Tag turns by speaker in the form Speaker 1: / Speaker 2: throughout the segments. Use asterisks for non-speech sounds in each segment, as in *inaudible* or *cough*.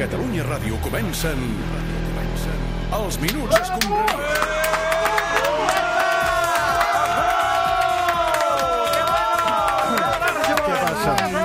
Speaker 1: Catalunya Ràdio comencen... comencen Els Minuts Escombraria.
Speaker 2: Què passa? Bona tarda.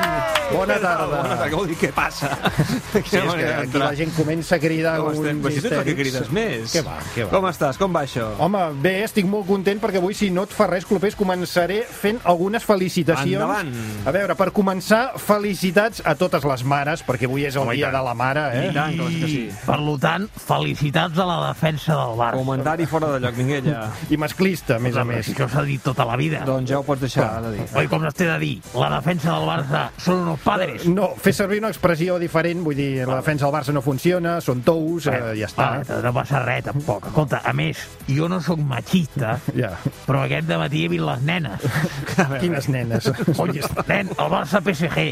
Speaker 3: Bona tarda, vol dir què passa? *laughs*
Speaker 2: Sí, és que aquí la gent comença a cridar
Speaker 3: Com estem?
Speaker 2: uns
Speaker 3: Però si tu que crides
Speaker 2: histèrics.
Speaker 3: més.
Speaker 2: Què va, què va?
Speaker 3: Com estàs? Com va això?
Speaker 2: Home, bé, estic molt content perquè avui, si no et fa res, Clopés, començaré fent algunes felicitacions.
Speaker 3: Endavant.
Speaker 2: A veure, per començar, felicitats a totes les mares, perquè avui és el
Speaker 3: Home, Oh, i
Speaker 2: dia
Speaker 3: tant.
Speaker 2: de la mare, eh?
Speaker 3: I tant, com és que sí.
Speaker 4: Per lo tant, felicitats a la defensa del Barça.
Speaker 3: Comentari fora de lloc, Minguella.
Speaker 2: I masclista, a més a
Speaker 4: Home,
Speaker 2: més.
Speaker 4: si Això s'ha dit tota la vida.
Speaker 3: doncs ja ho pots deixar, ha de dir.
Speaker 4: Oi, com es té de dir? La defensa del Barça són uns padres.
Speaker 2: No, fer servir una expressió diferent, vull dir, la defensa del Barça no funciona, són tous, eh, ja està.
Speaker 4: Va, no passa res, tampoc. Escolta, a més, jo no sóc machista,
Speaker 2: Ja.
Speaker 4: però aquest dematí he vist les nenes.
Speaker 2: Quines nenes.
Speaker 4: Oi, nen, el Barça PSG.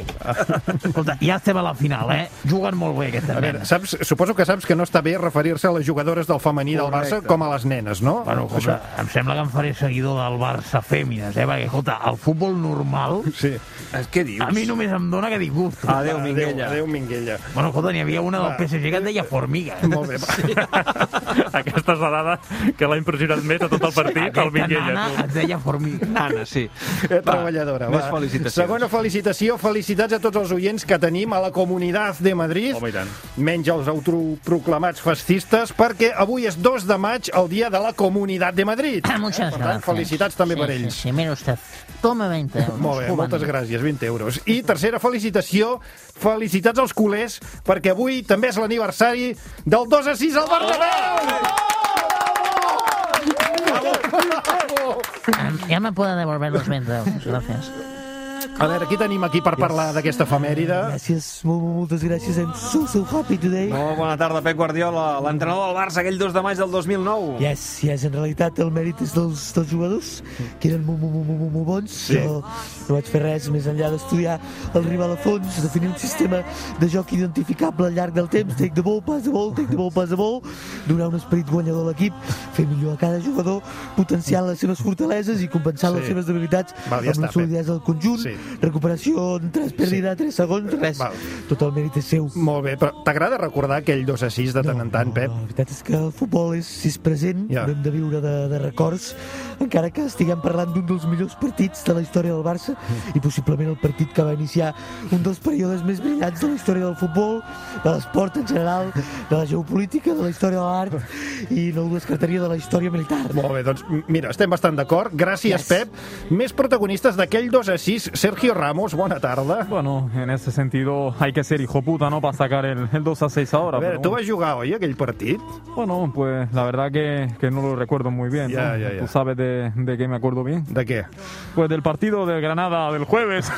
Speaker 4: Escolta, ja estem a la final, eh? Juguen molt bé aquestes
Speaker 2: *laughs* A veure,
Speaker 4: nenes.
Speaker 2: saps, suposo que saps que no està bé referir-se a les jugadores del femení del Barça
Speaker 3: Correcte.
Speaker 2: com a les nenes, no?
Speaker 4: Bueno, escolta, em sembla que em faré seguidor del Barça Fèmines, eh? Perquè, escolta, el futbol normal
Speaker 2: Sí.
Speaker 3: Eh,
Speaker 2: Ah,
Speaker 3: Què dius?
Speaker 4: a mi només em dóna que disgust.
Speaker 3: Adéu, Minguella.
Speaker 2: Adéu, Minguella. Ah.
Speaker 4: Bueno, escolta, n'hi havia una del PSG que et deia formiga. eh?
Speaker 2: Molt bé. Sí.
Speaker 5: *laughs* Aquesta és la dada que l'ha impressionat més a tot el partit, el Minguella.
Speaker 4: nana
Speaker 5: tu.
Speaker 4: et deia formiga.
Speaker 3: Nana, sí.
Speaker 2: Eh, treballadora.
Speaker 3: Més felicitacions.
Speaker 2: Segona felicitació, felicitats a tots els oients que tenim a la Comunitat de Madrid,
Speaker 5: Home, i tant.
Speaker 2: menys els autoproclamats fascistes, perquè avui és 2 de maig, el dia de la Comunitat de
Speaker 6: *coughs*
Speaker 2: Madrid.
Speaker 6: Ah,
Speaker 2: Eh,
Speaker 6: Muchas
Speaker 2: Per tant,
Speaker 6: gracias.
Speaker 2: felicitats també
Speaker 6: Sí,
Speaker 2: per
Speaker 6: sí,
Speaker 2: ells.
Speaker 6: sí, mira usted. Toma 20 euros.
Speaker 2: Molt bé,
Speaker 6: Cubano.
Speaker 2: moltes gràcies, 20 euros. I tercera felicitació, felicitats als culers, perquè avui també és l'aniversari del 2 a 6 al Bernabéu!
Speaker 6: Ah, Ya me puedo devolver los 20 euros, gracias.
Speaker 2: A veure, qui tenim aquí per parlar d'aquesta efemèride?
Speaker 7: Gràcies, molt, molt, moltes gràcies. I'm so, so happy today.
Speaker 3: Molt bona tarda, Pep Guardiola, l'entrenador del Barça aquell 2 de maig del 2009.
Speaker 7: Yes, yes, en realitat el mèrit és dels, dels jugadors, que eren molt, molt, molt, molt, molt, molt bons. Sí. Jo no vaig fer res més enllà d'estudiar el rival a fons, definir un sistema de joc identificable al llarg del temps, take the ball, pass the ball, take the ball, pass the ball, donar un esperit guanyador a l'equip, fer millor a cada jugador, potenciant les seves fortaleses i compensant
Speaker 2: Sí.
Speaker 7: sí. les seves debilitats
Speaker 2: Val, ja
Speaker 7: amb
Speaker 2: està,
Speaker 7: la solidesa del conjunt,
Speaker 2: Sí.
Speaker 7: sí. recuperació en tres, pèrdua, sí. tres segons, res.
Speaker 2: Val.
Speaker 7: Tot el mèrit és seu.
Speaker 2: Molt bé, però t'agrada recordar aquell 2 a 6 de tant en tant, Pep?
Speaker 7: No, la veritat és que el futbol és, si és present,
Speaker 2: Ja.
Speaker 7: yeah. hem de viure de, de records, encara que estiguem parlant d'un dels millors partits de la història del Barça i possiblement el partit que va iniciar un dels períodes més brillants de la història del futbol, de l'esport en general, de la geopolítica, de la història de l'art i no ho descartaria de la història militar.
Speaker 2: Molt bé, doncs m- mira, estem bastant d'acord. Gràcies, yes.
Speaker 7: Yes.
Speaker 2: Pep. Més protagonistes d'aquell 2 a 6, Sergio Ramos, bona tarda.
Speaker 8: Bueno, en ese sentido hay que ser hijo puta, ¿no? Para sacar el, el 2 a 6 ahora.
Speaker 2: A veure, tu
Speaker 8: pero
Speaker 2: vas jugar, oi, aquell partit?
Speaker 8: bueno, bueno, pues la verdad que, que no lo recuerdo muy bien. ¿no?
Speaker 2: Ya, ya, ya.
Speaker 8: ¿Tú sabes de, de qué me acuerdo bien?
Speaker 2: De què?
Speaker 8: Pues del partido del Granada del
Speaker 9: *laughs*
Speaker 8: jueves.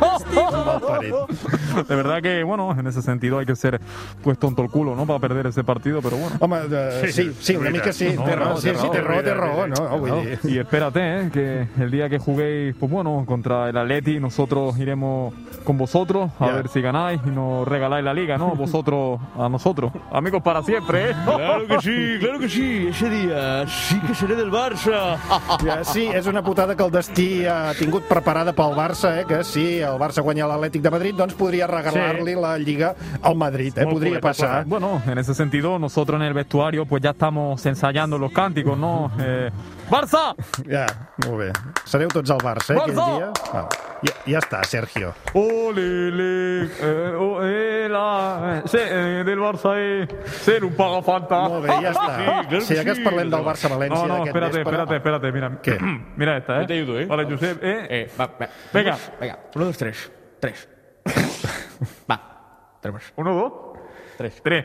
Speaker 2: Mal parit.
Speaker 8: *laughs* de verdad que, bueno, en ese sentido hay que ser pues tonto el culo, ¿no? Para perder ese partido, pero bueno.
Speaker 2: Home, de... sí, sí, una mica sí.
Speaker 8: No,
Speaker 2: té raó,
Speaker 8: no,
Speaker 2: sí,
Speaker 8: té
Speaker 2: sí, té
Speaker 8: raó,
Speaker 2: raó, té
Speaker 8: mira,
Speaker 2: raó, no? no, Vull dir...
Speaker 8: Y espérate, ¿eh? que el día que juguéis, pues bueno, contra el Atleti, nosotros iremos con vosotros a
Speaker 2: Ya.
Speaker 8: ver si ganáis y nos regaláis la liga,
Speaker 2: *laughs*
Speaker 8: ¿no? Vosotros a nosotros. Amigos para siempre, ¿eh?
Speaker 9: Claro
Speaker 8: *laughs*
Speaker 9: que sí, claro que sí. Ese día sí que seré del Barça.
Speaker 2: Ja, sí, és una putada que el destí ha tingut preparada pel Barça, eh? que si el Barça guanya l'Atlètic de Madrid, doncs podria regalar-li la Lliga al Madrid, eh?
Speaker 5: Molt
Speaker 2: podria
Speaker 5: pobret,
Speaker 2: passar.
Speaker 5: molt
Speaker 8: Bueno, en ese sentido, nosotros en el vestuario, pues ya estamos ensayando los cánticos,
Speaker 2: *laughs*
Speaker 8: ¿no? Eh, ¡Barça!
Speaker 2: Ja, molt bé. Sereu tots al Barça, eh, aquell
Speaker 8: Barça!
Speaker 2: dia. Ah, ja, ja està, Sergio.
Speaker 8: Ole, le, eh, oh, eh, la, eh, se, eh, del Barça, eh, ser un pagafanta.
Speaker 2: Molt bé, ja està.
Speaker 9: Sí, clar que
Speaker 2: si de cas
Speaker 9: sí,
Speaker 2: parlem del
Speaker 9: no.
Speaker 2: Barça-València
Speaker 8: No, no,
Speaker 2: d'aquest
Speaker 8: espérate,
Speaker 2: vespre.
Speaker 8: espérate, espérate, mira.
Speaker 2: ¿Qué?
Speaker 8: *clears throat* Mira esta, ¿eh?
Speaker 9: Yo te ayudo, ¿eh?
Speaker 8: Vale, Josep, ¿eh?
Speaker 9: Eh, va, va.
Speaker 8: Venga.
Speaker 9: Venga, uno, dos, tres.
Speaker 8: *laughs*
Speaker 9: Tres. va, tres más.
Speaker 8: Uno, dos,
Speaker 9: Tres.
Speaker 8: tres.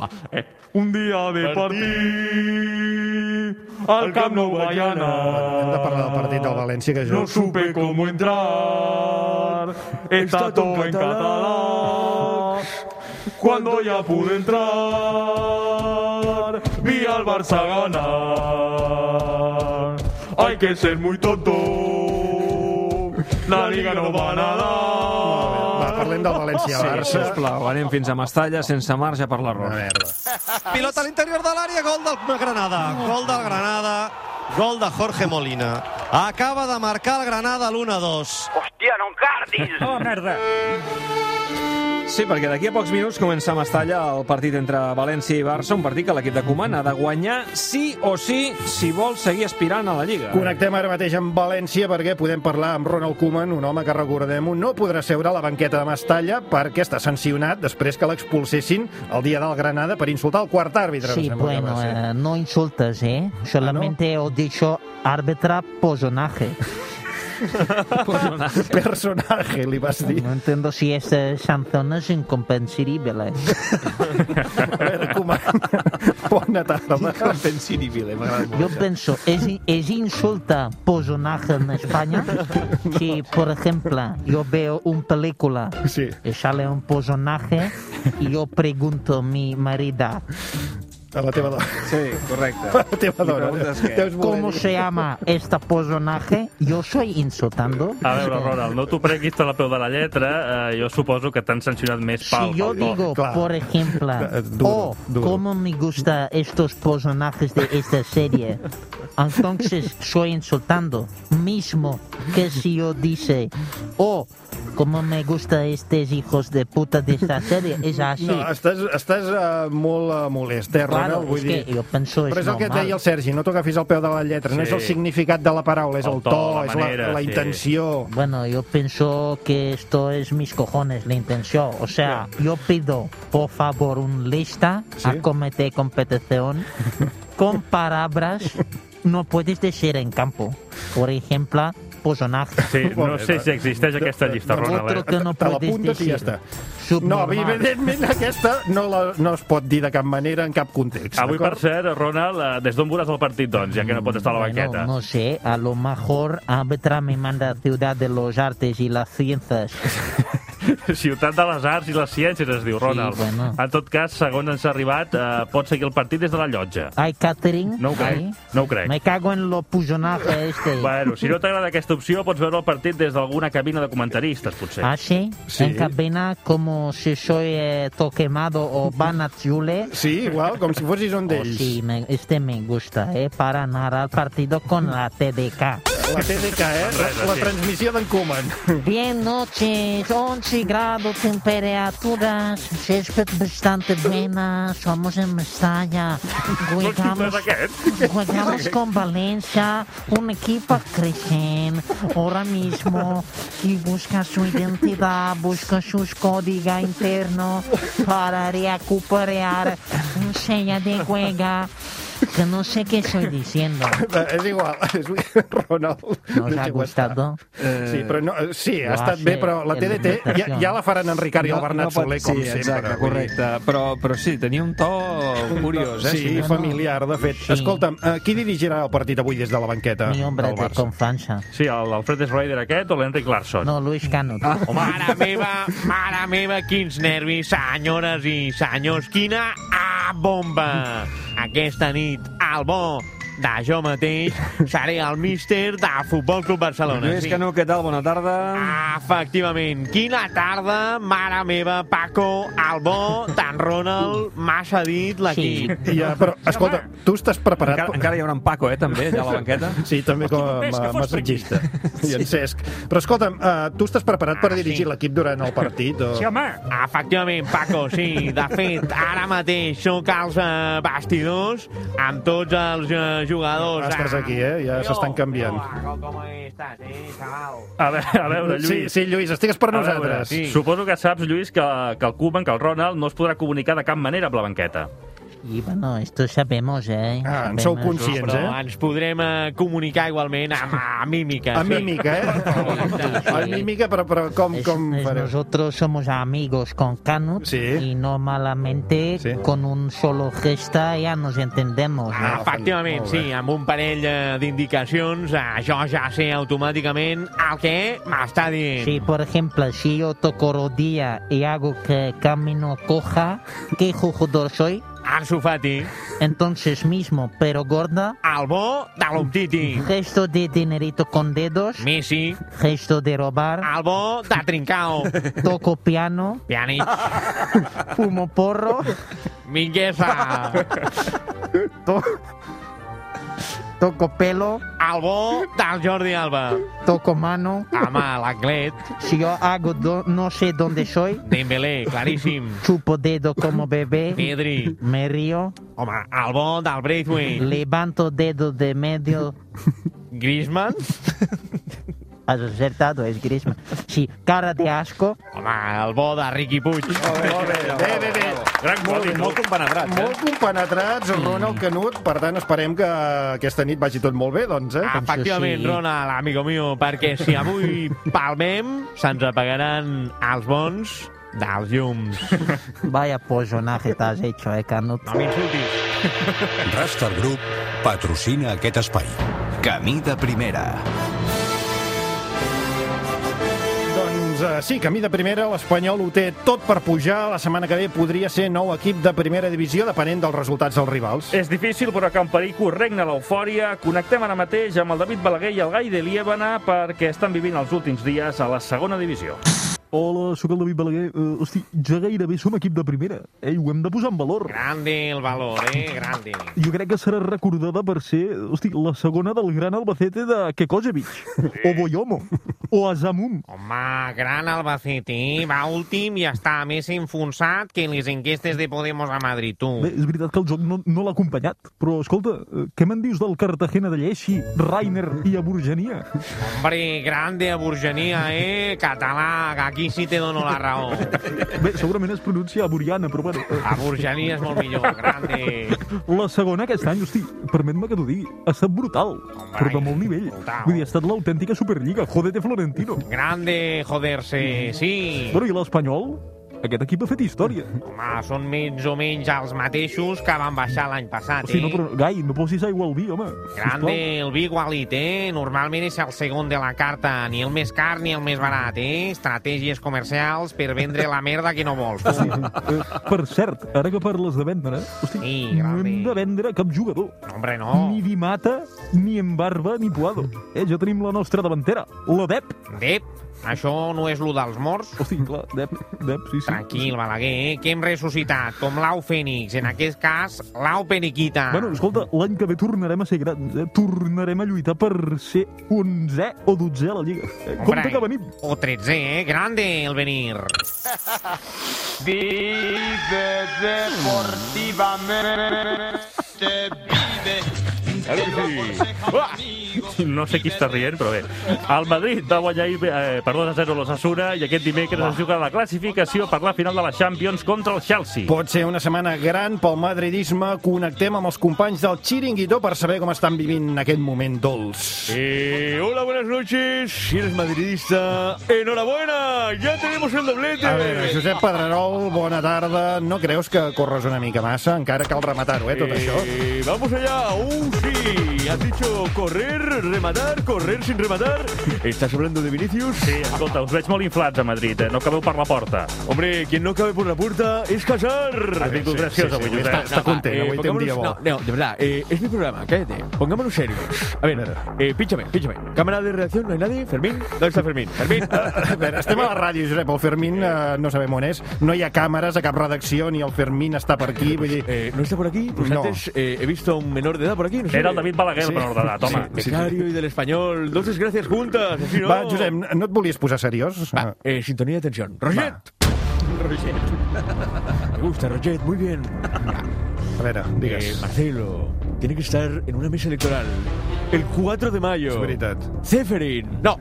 Speaker 9: Va.
Speaker 8: Eh. Un día de partir al Camp Nou
Speaker 2: Hem
Speaker 8: Guayana.
Speaker 2: de parlar del partit del València, que jo...
Speaker 8: No supe cómo entrar. Está todo en catalán. Cuando ya pude entrar, vi al Barça ganar. Hay que ser muy tonto. La liga no va a nadar.
Speaker 2: Va, parlem del València-Barça.
Speaker 3: Oh, Sisplau, anem fins a Mestalla sense marge per
Speaker 2: Una
Speaker 3: l'error.
Speaker 2: merda.
Speaker 10: Pilota a l'interior de l'àrea, gol del Granada. Gol del Granada, gol de Jorge Molina. Acaba de marcar el Granada l'1-2.
Speaker 11: Hòstia, no encardis!
Speaker 5: Oh, merda!
Speaker 3: Sí, perquè d'aquí a pocs minuts comença a Mestalla el partit entre València i Barça, un partit que l'equip de Coman ha de guanyar sí o sí si vol seguir aspirant a la Lliga.
Speaker 2: Connectem ara mateix amb València perquè podem parlar amb Ronald Koeman, un home que recordem no podrà seure a la banqueta de Mestalla perquè està sancionat després que l'expulsessin el dia del Granada per insultar el quart àrbitre.
Speaker 6: Sí,
Speaker 2: em sembla que
Speaker 6: bueno,
Speaker 2: va ser. Ah,
Speaker 6: eh, no insultas, ¿eh? Solamente os dicho árbitra personaje.
Speaker 2: *laughs* Personaje, li vas dir.
Speaker 6: No entiendo si esta sanción es incomprensible.
Speaker 2: *laughs* A veure,
Speaker 6: *laughs*
Speaker 2: Koeman, *laughs* bona tarda. eh?
Speaker 3: Incomprensible, m'agrada
Speaker 6: Yo pienso, ¿es, ¿es insulta personaje
Speaker 2: *laughs*
Speaker 6: en España? Si, por ejemplo, yo veo una película
Speaker 2: Sí.
Speaker 6: y sale un personaje y yo pregunto a mi marida,
Speaker 2: A la teva dona.
Speaker 3: Sí,
Speaker 2: *laughs* A
Speaker 3: correcte.
Speaker 2: la teva
Speaker 3: Li
Speaker 2: dona.
Speaker 3: preguntes què?
Speaker 2: Deus voler
Speaker 6: ¿cómo
Speaker 2: dir-
Speaker 6: se llama este personaje? Yo soy insultando.
Speaker 5: A veure, Ronald, no t'ho prenguis a la peu de la lletra. Eh, jo suposo que t'han sancionat més
Speaker 6: Si
Speaker 5: pel,
Speaker 6: yo
Speaker 5: pel to.
Speaker 6: digo,
Speaker 2: claro.
Speaker 6: por ejemplo,
Speaker 2: Es duro,
Speaker 6: oh,
Speaker 2: duro.
Speaker 6: cómo me gustan estos personajes de esta serie, entonces soy insultando. Mismo que si yo dice, oh, cómo me gustan estos hijos de puta de esta serie, es así.
Speaker 2: *laughs* No, estàs, estàs uh, molt uh, molest, eh,
Speaker 6: Claro,
Speaker 2: Ronald? Vull
Speaker 6: és que
Speaker 2: dir...
Speaker 6: jo penso, és
Speaker 2: Però és el que et
Speaker 6: normal.
Speaker 2: deia el Sergi, no t'agafis al peu de la lletra, sí. no
Speaker 5: Sí.
Speaker 2: és el significat de la paraula, és el, el to, la és manera, la, la
Speaker 5: sí.
Speaker 2: intenció.
Speaker 6: Bueno, yo pienso que esto es mis cojones, la intención. O sea, yo pido, por favor, un lista a cometer competición
Speaker 5: *laughs*
Speaker 6: con palabras no puedes decir en campo. Por ejemplo, personaje.
Speaker 5: Sí, no sé si existeix aquesta llista,
Speaker 6: Otro
Speaker 5: Ronald. Eh?
Speaker 6: que no
Speaker 2: Te
Speaker 6: puedes
Speaker 2: l'apuntes i
Speaker 6: decir.
Speaker 2: ja està. No,
Speaker 6: Subnormal.
Speaker 2: evidentment aquesta no, la, no es pot dir de cap manera en cap context.
Speaker 5: Avui, per
Speaker 2: d'acord?
Speaker 5: cert, Ronald, eh, des d'on veuràs el partit, doncs, ja que no pots estar a la
Speaker 6: Bueno,
Speaker 5: banqueta?
Speaker 6: Mm, no sé, a lo mejor Árbitra me manda a Ciudad de los Artes y las Ciencias.
Speaker 5: *laughs* Ciutat de les Arts i les Ciències es diu, Ronald.
Speaker 6: bueno.
Speaker 5: En tot cas, segons ens ha arribat, eh, pot seguir el partit des de la llotja.
Speaker 6: ¿Hay catering?
Speaker 5: No ho crec,
Speaker 6: ¿Hay?
Speaker 5: no ho crec.
Speaker 6: Me cago en lo pujonaje este.
Speaker 5: Bueno, si no t'agrada aquesta opció, pots veure el partit des d'alguna cabina de comentaristes, potser.
Speaker 6: Ah, sí?
Speaker 2: Sí.
Speaker 6: En cabina, como si soy eh, Toquemado o Banachule.
Speaker 2: Sí, igual, com si fossis un
Speaker 6: Oh,
Speaker 2: d'ells.
Speaker 6: sí, me- este me gusta, ¿eh? Para narrar el partido con la TDK.
Speaker 2: La TDK, eh? La, la transmissió *laughs* d'en Koeman.
Speaker 6: Bien noches, 11 grados, temperaturas, se es bastante buena, somos en Mestalla, juegamos, jugamos con Valencia, un equipo creciente ahora mismo y busca su identidad, busca sus códigos internos para recuperar un seña de juega que no sé qué estoy diciendo.
Speaker 2: Eh, és igual, *laughs* és Ronald.
Speaker 6: ¿No os ha eh,
Speaker 2: deixa-ho estar.
Speaker 6: gustado?
Speaker 3: Eh,
Speaker 2: Sí, però no, sí, ha
Speaker 6: va
Speaker 3: Ah,
Speaker 2: estat bé,
Speaker 6: ser
Speaker 2: però la
Speaker 6: el
Speaker 2: TDT ja,
Speaker 6: Diputació.
Speaker 2: ja la faran en Ricard i el Bernat
Speaker 3: pot-
Speaker 2: Soler, com
Speaker 3: sí,
Speaker 2: sempre.
Speaker 3: Exacte,
Speaker 2: vull dir.
Speaker 3: correcte. Però, però sí, tenia un to curiós, eh?
Speaker 2: Sí,
Speaker 6: no, no.
Speaker 2: familiar, de fet.
Speaker 6: Sí.
Speaker 2: Escolta'm, eh, qui dirigirà el partit avui des de la banqueta
Speaker 6: Mi hombre
Speaker 2: del
Speaker 6: de
Speaker 2: Barça?
Speaker 6: confianza.
Speaker 5: Sí, el- el Fred Schreider aquest o l'Henrik Larsson?
Speaker 6: No, Luis Cano.
Speaker 2: Ah.
Speaker 9: Mare meva, mare meva, quins nervis, senyores i senyors, quina ah, bomba! Aquesta nit, al bo de jo mateix, seré el míster de Futbol Club Barcelona.
Speaker 3: Lluís Canó, què tal? Bona tarda.
Speaker 9: Efectivament. Quina tarda, mare meva, Paco, Albó, Tan Ronald, massa dit l'equip. Sí.
Speaker 2: I, eh, però, escolta, tu estàs preparat...
Speaker 3: Encara, encara hi haurà un Paco, eh, també, allà a la banqueta.
Speaker 2: Sí, també com a ma- massatgista. *laughs* I en Cesc. Però escolta'm, eh, tu estàs preparat per
Speaker 9: Ah,
Speaker 2: dirigir
Speaker 9: sí.
Speaker 2: l'equip durant el partit? O... Sí, home.
Speaker 9: Efectivament, Paco, sí. De fet, ara mateix sóc als eh, bastidors amb tots els eh, jugadors.
Speaker 2: Estàs
Speaker 9: Ah,
Speaker 2: aquí, eh? Ja
Speaker 9: jo,
Speaker 2: s'estan canviant.
Speaker 9: jo, Paco, com estàs, eh, xaval?
Speaker 5: A veure, a veure
Speaker 2: Sí,
Speaker 5: Lluís.
Speaker 2: sí, Lluís, estigues per
Speaker 5: a veure,
Speaker 2: nosaltres.
Speaker 5: sí. Suposo que saps, Lluís, que, que el Koeman, que el Ronald, no es podrà comunicar de cap manera amb la banqueta.
Speaker 6: Y bueno, esto sabemos, ¿eh?
Speaker 2: Ah, en
Speaker 6: Sabemos.
Speaker 2: sou conscients,
Speaker 9: Però
Speaker 2: eh?
Speaker 9: ens podrem eh, comunicar igualment amb, amb mímica.
Speaker 2: A mímica, eh? A mímica, però, però com,
Speaker 6: Es-
Speaker 2: com
Speaker 6: es-
Speaker 2: fareu?
Speaker 6: nosotros somos amigos con Canut
Speaker 2: Sí.
Speaker 6: y normalmente
Speaker 2: Sí.
Speaker 6: con un solo gesta ya nos entendemos.
Speaker 9: Ah,
Speaker 2: Ah,
Speaker 9: Efectivament,
Speaker 2: molt bé.
Speaker 9: sí, amb un parell eh, d'indicacions, eh, jo ja sé automàticament el que m'està dient.
Speaker 6: Si, por ejemplo, si yo toco rodilla y hago que camino coja, ¿qué jugador soy?
Speaker 9: Ansu Fati,
Speaker 6: Entonces mismo, pero gorda,
Speaker 9: el bo de l'Umtiti.
Speaker 6: gesto de dinerito con dedos,
Speaker 9: Messi,
Speaker 6: gesto de robar,
Speaker 9: el bo de Trincao.
Speaker 6: *laughs* toco piano,
Speaker 2: *laughs*
Speaker 9: Pjanic,
Speaker 6: fumo
Speaker 9: *laughs*
Speaker 6: porro,
Speaker 9: Minguesa.
Speaker 6: Toco pelo.
Speaker 9: El bo del Jordi Alba.
Speaker 6: Toco mano.
Speaker 9: Home, l'Anglet.
Speaker 6: Si yo hago do- no sé dónde soy.
Speaker 9: Dembélé, claríssim.
Speaker 6: Chupo dedo como bebé.
Speaker 9: Pedri.
Speaker 6: Me río.
Speaker 9: Home, el bo del Braithwaite.
Speaker 6: Levanto dedo de medio.
Speaker 9: Griezmann.
Speaker 6: Has acertado, es Griezmann. Sí, cara de asco.
Speaker 9: Home, el bo de Riqui Puig.
Speaker 2: Bé, bé, bé.
Speaker 5: Gran
Speaker 2: Molt
Speaker 5: quali,
Speaker 2: bé.
Speaker 5: molt compenetrats, eh?
Speaker 2: Molt compenetrats, Ronald Canut. Per tant, esperem que aquesta nit vagi tot molt bé, doncs, eh?
Speaker 9: Efectivament,
Speaker 6: sí.
Speaker 9: Ronald, amigo mio, perquè si avui palmem, se'ns apagaran els bons dels llums.
Speaker 6: Vaya pozonaje te has hecho, eh, Canut.
Speaker 9: No m'insultis.
Speaker 1: Rastar Group patrocina aquest espai. Camí de primera.
Speaker 2: Doncs eh, sí, camí de primera, l'Espanyol ho té tot per pujar. La setmana que ve podria ser nou equip de primera divisió, depenent dels resultats dels rivals.
Speaker 5: És difícil, però que en Perico regna l'eufòria. Connectem ara mateix amb el David Balaguer i el Gai de Liébana perquè estan vivint els últims dies a la segona divisió.
Speaker 11: Hola, sóc el David Balaguer. Uh, hosti, ja gairebé som equip de primera. Ei, ho hem de posar en valor.
Speaker 9: Grande el valor, eh? Grande.
Speaker 11: Jo crec que serà recordada per ser, hosti, la segona del gran Albacete de Kekosevic, o Boyomo, o Azamum.
Speaker 9: Home, gran Albacete, eh? va últim i està més enfonsat que les enquestes de Podemos a Madrid,
Speaker 11: Bé,
Speaker 9: tu.
Speaker 11: és veritat que el joc no, no l'ha acompanyat, però, escolta, eh, què me'n dius del Cartagena de Lleixi, Rainer i Aburgenia?
Speaker 9: Hombre, grande a Burgenia, eh? Català, que aquí sí te dono la raó.
Speaker 11: Bé, segurament es pronuncia Aburiana, però bueno... eh,
Speaker 9: A Burgenia és molt millor, grande.
Speaker 11: La segona aquest any, hosti, permet-me que t'ho digui, ha estat brutal, però de molt nivell.
Speaker 9: brutal.
Speaker 11: Vull dir, ha estat l'autèntica Superliga, jodete Florentino.
Speaker 9: Grande, joder-se, sí.
Speaker 11: Bueno, i l'Espanyol? Aquest equip ha fet història.
Speaker 9: Home, són menys o menys els mateixos que van baixar l'any passat,
Speaker 11: O sigui,
Speaker 9: eh?
Speaker 11: no, però, Gai, no posis aigua al vi, home.
Speaker 9: Grande, el vi igualit, eh? Normalment és el segon de la carta, ni el més car ni el més barat, eh? Estratègies comercials per vendre la merda que no vols. tu.
Speaker 11: Sisplau. Eh, per cert, ara que parles de vendre, hosti,
Speaker 9: Sí,
Speaker 11: no hem
Speaker 9: grande.
Speaker 11: de vendre cap jugador.
Speaker 9: No, Hombre,
Speaker 11: Ni
Speaker 9: no.
Speaker 11: Dimata, ni Embarba, ni Puado. Eh, ja tenim la nostra davantera, la Dep.
Speaker 9: Dep, això no és lo dels morts.
Speaker 11: Hosti, clar, Dep, Dep, sí, sí.
Speaker 9: Tranquil, Balaguer, eh? que hem ressuscitat, com l'au Fènix, en aquest cas, l'au Periquita.
Speaker 11: Bueno, escolta, l'any que ve tornarem a ser grans, eh? Tornarem a lluitar per ser 11è o 12è a la Lliga. Eh, compte que venim.
Speaker 9: O 13, eh? Grande, el venir.
Speaker 8: Vive deportivamente, vive.
Speaker 5: Ah! No sé qui està rient, però bé. El Madrid va guanyar ahir, eh, per 2 a 0 l'Ossassuna i aquest dimecres es juga la classificació per la final de la Champions contra el Chelsea.
Speaker 2: Pot ser una setmana gran pel madridisme. Connectem amb els companys del Chiringuito per saber com estan vivint aquest moment dolç.
Speaker 10: Eh, hola, buenas noches. Si eres madridista, enhorabuena. Ya tenemos el doblete.
Speaker 2: A veure, Josep Pedrerol, bona tarda. No creus que corres una mica massa? Encara cal rematar-ho, eh, tot això.
Speaker 10: Eh, vamos allá. Uh, sí. Has dicho correr, rematar, correr sin rematar. *laughs* ¿Estás hablando de Vinicius?
Speaker 5: Sí, escolta, us veig molt inflats a Madrid, eh? no cabeu per la porta.
Speaker 10: Hombre, quien no cabe por la puerta es casar.
Speaker 5: Has vingut graciós avui,
Speaker 2: Està,
Speaker 5: Josep.
Speaker 2: està
Speaker 10: Eh,
Speaker 2: content, avui té un dia bo.
Speaker 10: No, no, de verdad, eh, es mi programa, cállate. Pongámonos serios. A ver, eh, pínchame, pínchame. Cámara de reacción, ¿no hay nadie? Fermín, ¿dónde está Fermín? Fermín.
Speaker 2: *laughs* A veure, estem a la ràdio, Josep. El Fermín eh, no sabem on és. No hi ha càmeres a cap redacció, ni el Fermín està per aquí. Vull dir,
Speaker 10: Eh, ¿No está por aquí? Pues
Speaker 2: No.
Speaker 10: antes eh, he visto a un menor de edad por aquí. No sé.
Speaker 5: Era el David Balaguer, el menor d'edat, home.
Speaker 10: Sí, becario y del español. Dos desgracias juntas. Así no.
Speaker 2: va, Josep, no et volies posar seriós?
Speaker 10: Va, eh, sintonía de tensión. ¡Roget! Roget. *laughs* Me gusta, Roget, muy bien.
Speaker 2: A veure,
Speaker 10: Eh,
Speaker 2: digues.
Speaker 10: Marcelo, tiene que estar en una mesa electoral. El 4 de mayo.
Speaker 2: És veritat.
Speaker 10: Zeferin. No,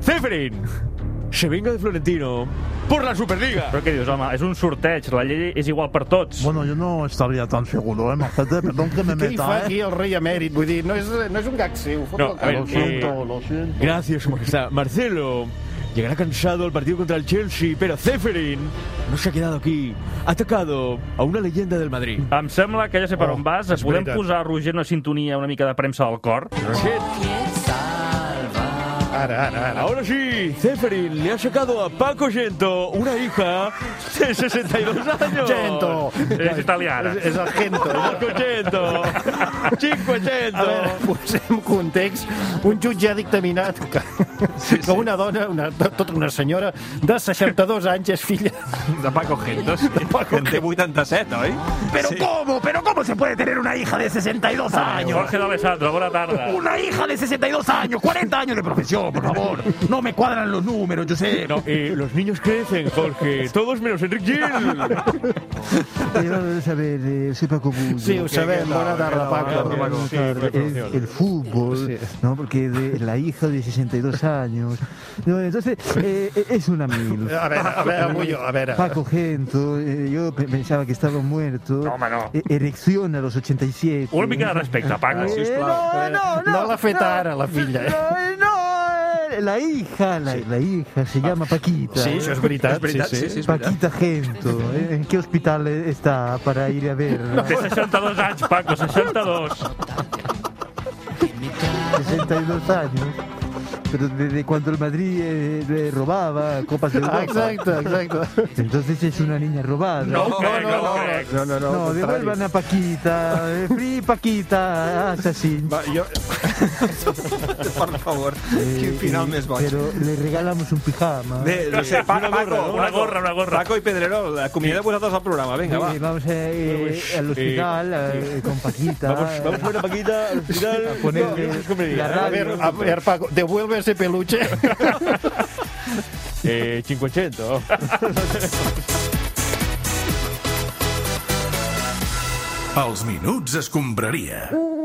Speaker 10: Zeferin. Se venga de Florentino por la Superliga.
Speaker 5: Però què dius, home? És un sorteig, la llei és igual per tots.
Speaker 11: Bueno, yo no estaría tan seguro, eh, Marcete, perdón que me ¿eh?
Speaker 2: Què hi fa aquí el rei emèrit? Vull dir, no és, no és un gag seu. fot
Speaker 10: No,
Speaker 2: el
Speaker 10: a ver,
Speaker 2: cap.
Speaker 10: eh, gracias, su majestad. Marcelo llegará cansado al partido contra el Chelsea, pero Zeferin no se ha quedado aquí. Ha atacado a una leyenda del Madrid.
Speaker 5: Em sembla que ja sé per
Speaker 2: Oh,
Speaker 5: on vas.
Speaker 2: és
Speaker 5: Podem
Speaker 2: veritat.
Speaker 5: posar, Roger, una sintonia una mica de premsa del cor?
Speaker 10: Roget,
Speaker 2: Ah, Ara, ara, ara.
Speaker 11: Ahora sí, Zeferin le ha sacado a Paco Gento una hija de 62 años.
Speaker 2: Gento.
Speaker 5: Es italiana.
Speaker 2: És, és el Gento.
Speaker 11: Paco Gento.
Speaker 2: A veure,
Speaker 11: 500.
Speaker 2: posem context. Un jutge ha dictaminat que, sí, sí. que una dona, una, tota una senyora de 62 anys és filla...
Speaker 3: De Paco Gentos, que en té 87, oi?
Speaker 4: Pero cómo, pero cómo se puede tener una hija de 62
Speaker 2: Ah,
Speaker 4: años.
Speaker 5: Jorge de Alessandro, bona tarda.
Speaker 4: Una hija de 62 años, 40 años de profesión, por favor. No me cuadran los números, yo sé.
Speaker 11: No, eh, los niños crecen, Jorge. Todos menos Enric Gil.
Speaker 12: Eh, vamos a saber, eh, soy Paco Bullo.
Speaker 2: Sí, ho sabem. Bona tarda, Paco.
Speaker 12: Buenas tardes. El, el fútbol, ¿no? Porque de la hija de 62 años. No, entonces, eh, es una mil.
Speaker 2: A veure, a veure, Bullo, a veure.
Speaker 12: Paco Gento, eh, yo pe- pensaba que estaba muerto. No,
Speaker 5: no.
Speaker 12: erección a los 87.
Speaker 5: Una mica de respecte, Paco.
Speaker 12: Eh, no, no, no.
Speaker 2: No l'ha fet
Speaker 12: no.
Speaker 2: ara, la filla. Eh?
Speaker 12: No, eh, no, eh, la hija, la, la hija, se llama Paquita.
Speaker 2: Ah. Sí, això és veritat, És veritat, sí, sí. sí, sí, és
Speaker 12: Paquita Gento. eh, ¿En qué hospital eh, está para ir
Speaker 5: *laughs*
Speaker 12: a verla?
Speaker 5: Té 62 anys, Paco, 62.
Speaker 12: 62 años. Pero desde cuando el Madrid eh, le robaba copas de Europa.
Speaker 2: Ah, Exacto, exacto.
Speaker 12: Entonces es una niña robada.
Speaker 5: No ho crec, no ho crec.
Speaker 2: No, no, no.
Speaker 12: No,
Speaker 2: al contrari.
Speaker 12: devuelvan a Paquita. eh, Free Paquita, assassin.
Speaker 3: Va, jo... *laughs* per favor,
Speaker 2: *laughs*
Speaker 3: quin final més boig.
Speaker 12: Pero le regalamos un pijama.
Speaker 3: Bé, no sé,
Speaker 5: Pa-
Speaker 3: una
Speaker 5: Paco,
Speaker 3: gorra,
Speaker 5: una gorra, una gorra.
Speaker 3: Paco i Pedrerol, acomiadeu vosaltres al programa, vinga, va.
Speaker 12: Eh, vamos a, eh,
Speaker 5: pues,
Speaker 12: al hospital eh, con Paquita.
Speaker 11: Vamos, vamos a ver a Paquita al hospital.
Speaker 12: A ponerle
Speaker 11: No, no, no, no, no.
Speaker 12: la
Speaker 2: A
Speaker 12: radio.
Speaker 2: ver, a ver, Paco, devuelve ese peluche.
Speaker 11: Eh, 500.
Speaker 13: Els minuts escombraria.